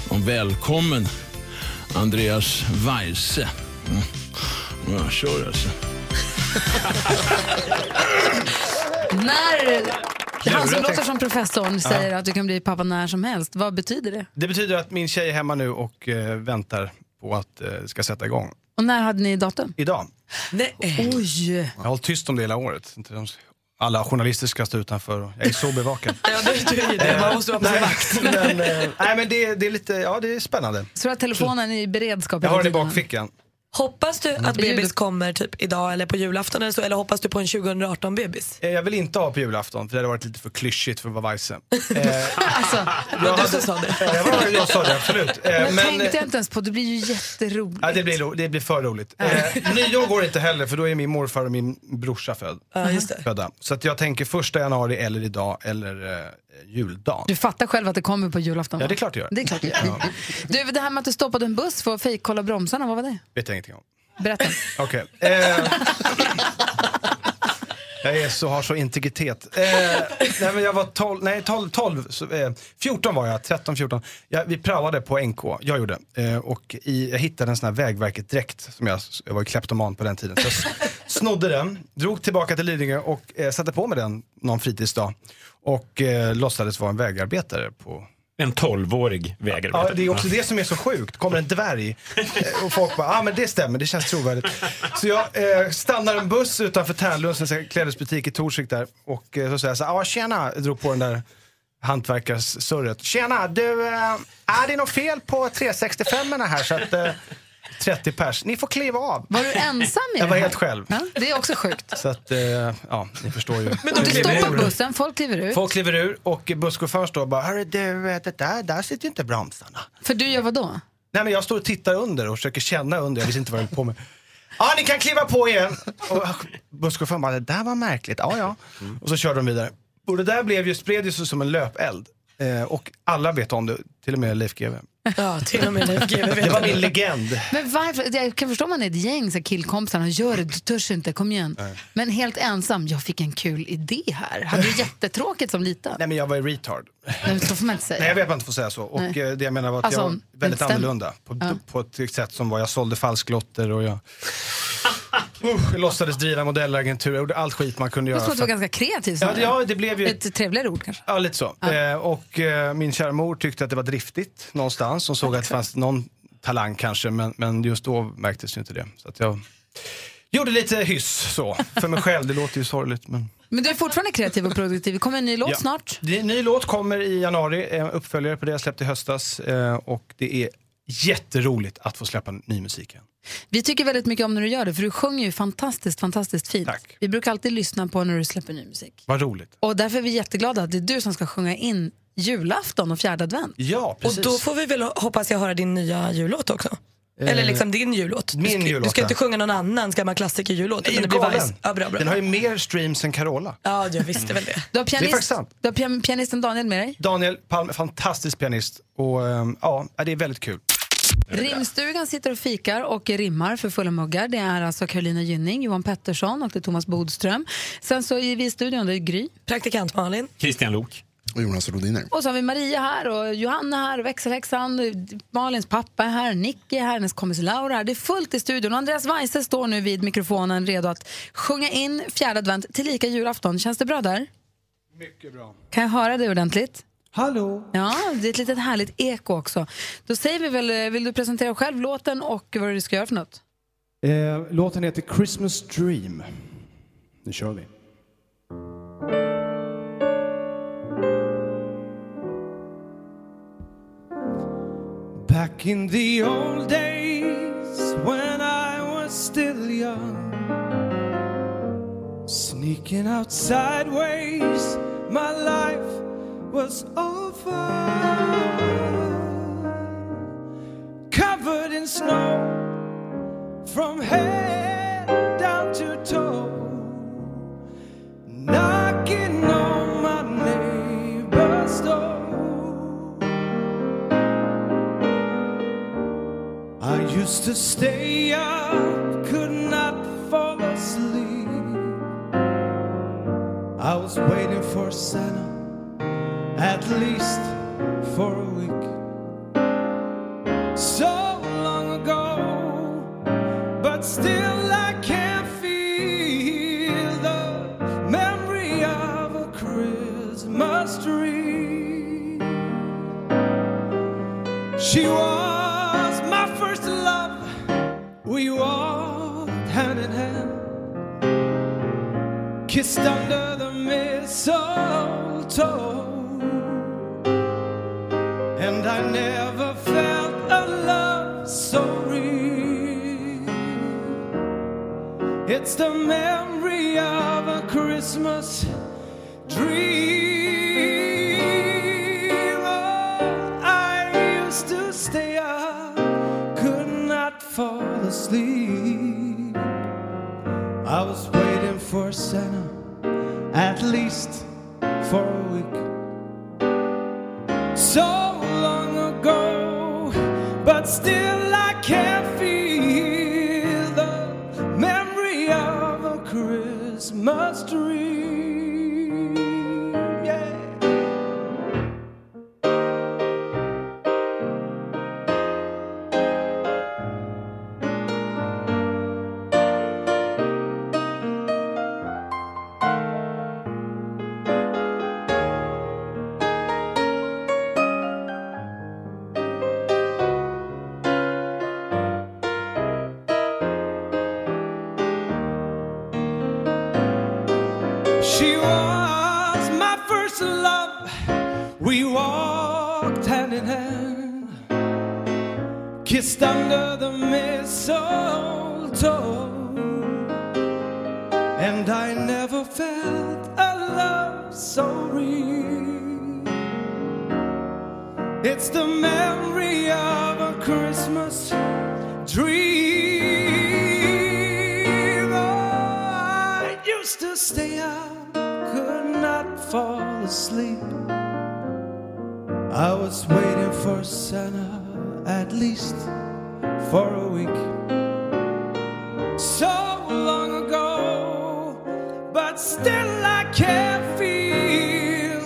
och välkommen Andreas Weise. Mm. Ja, kör alltså. När han som Lurat, låter tänkte- som professorn Ja. säger att du kan bli pappa när som helst, vad betyder det? Det betyder att min tjej är hemma nu och eh, väntar på att eh, det ska sätta igång. Och när hade ni datum? Idag. Nej. Oj! Jag har hållit tyst om det hela året. Inte de- Alla journalister ska stå utanför. och Jag är så bevakad. Ja, du, du är ju det. Man måste vara på sin Nej, vakt. [laughs] Men, eh, nej, men det, det är lite, ja det är spännande. Så du har telefonen i [laughs] beredskap Jag har den i hela tiden? bakfickan. Hoppas Mm, du att Julen. bebis kommer typ idag eller på julafton eller så, eller hoppas du på en 2018-bebis? Eh, Jag vill inte ha på julafton, för det hade varit lite för klyschigt för att vara [laughs] Weise. Var du som sa det? Ja, jag, var, jag sa det, absolut. Eh, Alltså, Men, tänkte eh, jag inte ens på, det blir ju jätteroligt. Ja, det, blir, ro- det blir för roligt. Eh, nyår går inte heller för då är min morfar och min brorsa född, Ja, just födda. Så att jag tänker första januari eller idag eller eh, juldagen. Du fattar själv att det kommer på julafton? Ja, va? det är klart det gör. Det är klart det gör. Ja, Du, det här med att du stoppade en buss för att fejkkolla bromsarna, vad var det? vet jag ingenting om. Berätta. Okej. Eh, jag är så, har så integritet. Eh, nej, men jag var 12, nej 12, 12 så, eh, 14 var jag, 13, 14. Jag, vi praoade på NK, jag gjorde. Eh, och i, jag hittade en sån här Vägverket-dräkt, som jag, jag var ju kleptoman på den tiden. Så jag s- snodde den, drog tillbaka till Lidingö och eh, satte på mig den någon fritidsdag. Och eh, låtsades vara en vägarbetare på En tolvårig vägarbetare. Ja, det är också det som är så sjukt. Kommer en dvärg eh, och folk bara, ja ah, men det stämmer, det känns trovärdigt. Så jag eh, stannar en buss utanför Tärnlunds en klädesbutik i Torsvik där och eh, så säger jag så här, ah, tjena, jag drog på den där hantverkarsurret. Tjena, du, eh, är det är något fel på 365 erna här så att eh, 30 pers, ni får kliva av. Var du ensam i Jag det var här? helt själv. Ja, det är också sjukt. Så att, eh, ja, ni förstår ju. Men du stoppar bussen, folk kliver ut. Folk kliver ur och busschauffören står och bara, hörru du, eh, det där, där sitter ju inte bromsarna. För du gör vad då? Nej men jag står och tittar under och försöker känna under, jag visste inte vad jag höll på med. Ja, ni kan kliva på igen. Och busschauffören bara, det där var märkligt. Ja, ja. Och så körde de vidare. Och det där blev ju, spred ju sig som en löpeld. Eh, och alla vet om det, till och med Leif GW. Ja, till och med Leif GW vet Det var det. min legend. Men varför? Jag kan förstå om man är ett gäng så här killkompisar och gör det, du törs inte, kom igen. Nej. Men helt ensam, jag fick en kul idé här. Hade du jättetråkigt som liten? Nej men jag var ju retard. Nej, så får man inte säga. Nej jag vet att man inte får säga så. Och Nej. eh, det jag menar var att Alltså, jag var väldigt det stämmer. annorlunda. På, Ja. på ett sätt som var, jag sålde falsklotter [laughs] och jag, uh, jag låtsades driva modellagentur. Jag gjorde allt skit man kunde Jag göra. tror att du för var att- ganska kreativ. Ja, det- ja, det blev ju- Ett trevligare ord kanske. Ja, lite så. Eh, och eh, min kära mor tyckte att det var driftigt någonstans. Hon såg att det fanns någon talang kanske, men, men just då märktes ju inte det. Så att jag gjorde lite hyss så, för mig själv. Det låter ju sorgligt, men... Men du är fortfarande kreativ och produktiv. Det kommer en ny låt Ja. snart. Det är en ny låt kommer i januari, eh, uppföljare på det jag släppte i höstas. Eh, och det är jätteroligt att få släppa ny musik igen. Vi tycker väldigt mycket om när du gör det, för du sjunger ju fantastiskt, fantastiskt fint. Vi brukar alltid lyssna på när du släpper ny musik. Vad roligt. Och därför är vi jätteglada att det är du som ska sjunga in julafton och fjärde advent. Ja, Och då får vi väl hoppas jag höra din nya jullåt också. Eller liksom din jullåt. Du Eh, min ska, jullåt, Du ska inte ja. sjunga någon annans gammal klassikerjullåt. Nej, utan är det blir du galen? Vice. Ja, bra, bra. Den har ju mer streams än Carola. Ja, jag visste väl det. Du har, Det är faktiskt pianist, sant. du har pian- pianisten Daniel med dig. Daniel Palm, fantastisk pianist. Och ehm, ja, det är väldigt kul. Rimstugan sitter och fikar och rimmar för fulla muggar. Det är alltså Carolina Gynning, Johan Pettersson och det är Thomas Bodström. Sen så är vi i studion, det är Gry. Praktikant Malin. Christian Lok. Och Jonas Rodiner. Och så har vi Maria här och Johanna här, växelhäxan, Malins pappa är här, Nicky är här, hennes kompis Laura är här. Det är fullt i studion och Andreas Weise står nu vid mikrofonen redo att sjunga in fjärde advent tillika julafton. Känns det bra där? Mycket bra. Kan jag höra dig ordentligt? Hallå? Ja, det är ett litet härligt eko också. Då säger vi väl, eh, vill du presentera själv låten och vad du ska göra för något? Eh, låten heter Christmas Dream. Nu kör vi. Back in the old days when I was still young, sneaking out sideways, my life was over. Covered in snow from head down to toe, knocking on my neighbor's door. I used to stay up, could not fall asleep. I was waiting for Santa at least for a week. So long ago, but still I can't feel the memory of a Christmas tree. She was my first love. We walked hand in hand, kissed under the mistletoe. And I never felt a love so real. It's the memory of a Christmas dream. Oh, I used to stay up, could not fall asleep. I was waiting for Santa, at least for a week. So long ago, but still I can't feel the memory of a Christmas dream. Yeah. She was my first love. We walked hand in hand, kissed under the mistletoe, and I never felt a love so real. It's the memory of a Christmas dream. Oh, I used to stay up, could not fall asleep. I was waiting for Santa at least for a week. So long ago, but still I can't feel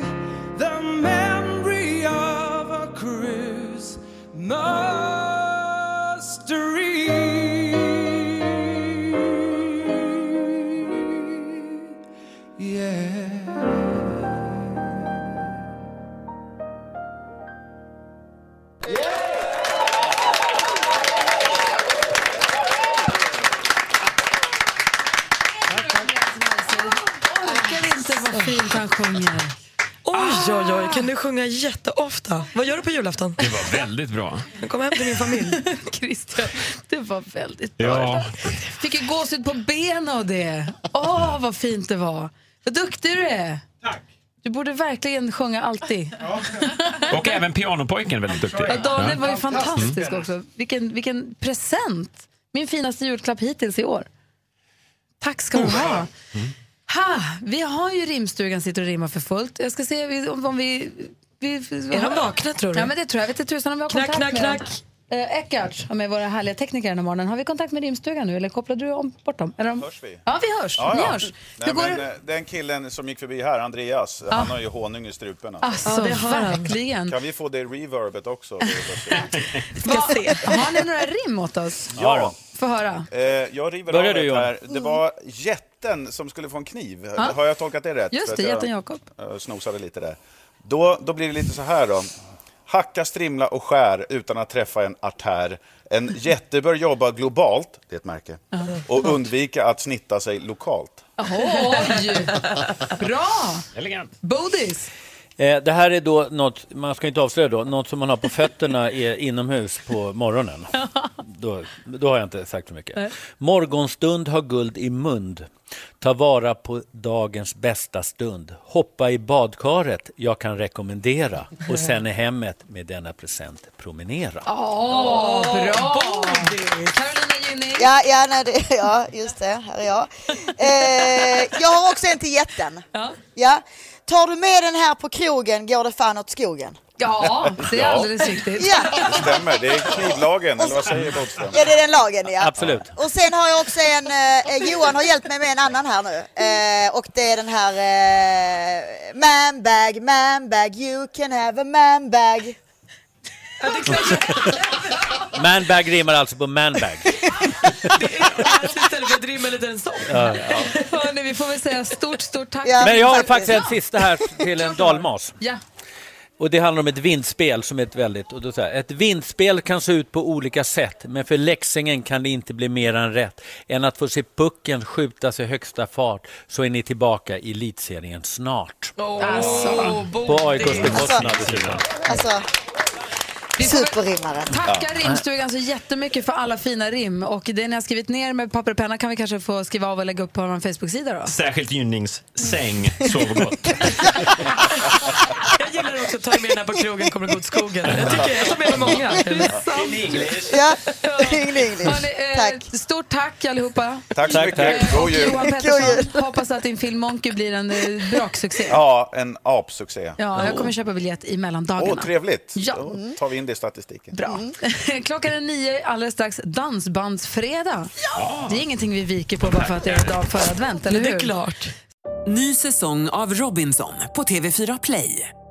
the memory of a Christmas dream. Yeah. Orkar inte vad fint han sjunger. Ah! Oj, oj, oj. Kan du sjunga jätteofta? Vad gör du på julafton? Det var väldigt bra. Kom hem till min [laughs] familj. [laughs] Christian, det var väldigt Ja, Fick ju gåshud på benen av det. Åh, vad fint det var. Vad duktig du är. Tack. Du borde verkligen sjunga alltid. och även pianopojken är väldigt duktig. Ja, Daniel var ju Fantastisk. fantastisk Mm. också. Vilken, vilken present. Min finaste julklapp hittills i år. Tack ska du ha. Ha, vi har ju rimstugan sitter och rimmar för fullt. Jag ska se om, om vi... vi Är de vakna, tror du? Ja, men det tror jag. Jag Vet inte tusan om vi har Knack, kontakt knack, med knack. Eh, Eckart, som är våra härliga tekniker den här morgonen. Har vi kontakt med rimstugan nu eller kopplar du om, bort dem? Eller om... Hörs vi? Ja, vi hörs. Ja, Ni ja. hörs. Nej, Hur går men, det? eh, den killen som gick förbi här, Andreas, Ja. han har ju honung i strupen. Alltså, Ja, det har han. verkligen. Kan vi få det [laughs] reverbet också? Har ni några rim åt oss? Ja då. Få höra. Eh, jag river Börjar av du, ett Johan. här. Det var jätten som skulle få en kniv. Ja. Har jag tolkat det rätt? Ah. Just För att det, jag, jätten Jakob. eh, snosade lite där. Då, då blir det lite så här då. Hacka, strimla och skär utan att träffa en artär. En jätte bör jobba globalt, det är ett märke, och undvika att snitta sig lokalt. Oj! Bra! Elegant. Bodis! Eh, Det här är då något, man ska inte avslöja då, något som man har på fötterna är inomhus på morgonen. Då, då har jag inte sagt för mycket. Nej. Morgonstund har guld i mund. Ta vara på dagens bästa stund. Hoppa i badkaret, jag kan rekommendera. Och sen i hemmet med denna present promenera. Åh, bra! Ja, ja, nej, det, [laughs] Eh, ja, just det. Här är jag. Eh, jag har också en till jätten. Ja. tar du med den här på krogen går det fan åt skogen. Ja, det är alldeles riktigt. Ja. Det stämmer, det är knivlagen, eller vad säger Bodström? Ja, det är den lagen ja. Absolut. Och sen har jag också en, eh, Johan har hjälpt mig med en annan här nu. Eh, och det är den här eh, Man bag, man bag, you can have a man bag. Manbag rimmar alltså på manbag. Istället för att rimma lite en sång. Ja, ja. Hörni, vi får väl säga stort, stort tack. Men jag har faktiskt en sista här till en dalmas. Ja. Och det handlar om ett vindspel som är ett väldigt... Och då så här, ett vindspel kan se ut på olika sätt, men för Leksingen kan det inte bli mer än rätt. Än att få se pucken skjutas i högsta fart så är ni tillbaka i elitserien snart. Alltså. På AIKs bekostnad dessutom. Alltså, superrimmaren. Tacka Ja. rimstugan så jättemycket för alla fina rim. Och det ni har skrivit ner med papper och penna kan vi kanske få skriva av och lägga upp på vår Facebook-sida då. Särskilt gynningssäng, sov gott. Jag gillar också att ta med den här på krogen kommer att gå åt skogen. Jag tycker jag tar med mig många. Ja, [laughs] Ingen English. Hörrni, eh, Tack. Stort tack allihopa. Tack så Tack, mycket. tack. Eh, och God jul. Johan Pettersson, hoppas att din film Monkey blir en eh, braksuccé. Ja. Ja, en apsuccé. jag kommer köpa biljett i mellandagarna. Åh, trevligt. Ja. Då tar vi in det i statistiken. Bra. Mm. [laughs] Klockan är nio, alldeles strax dansbandsfredag. Det är ingenting vi viker på bara för att det är dag för advent, eller hur? Det är klart. Ny säsong av Robinson på TV4 Play.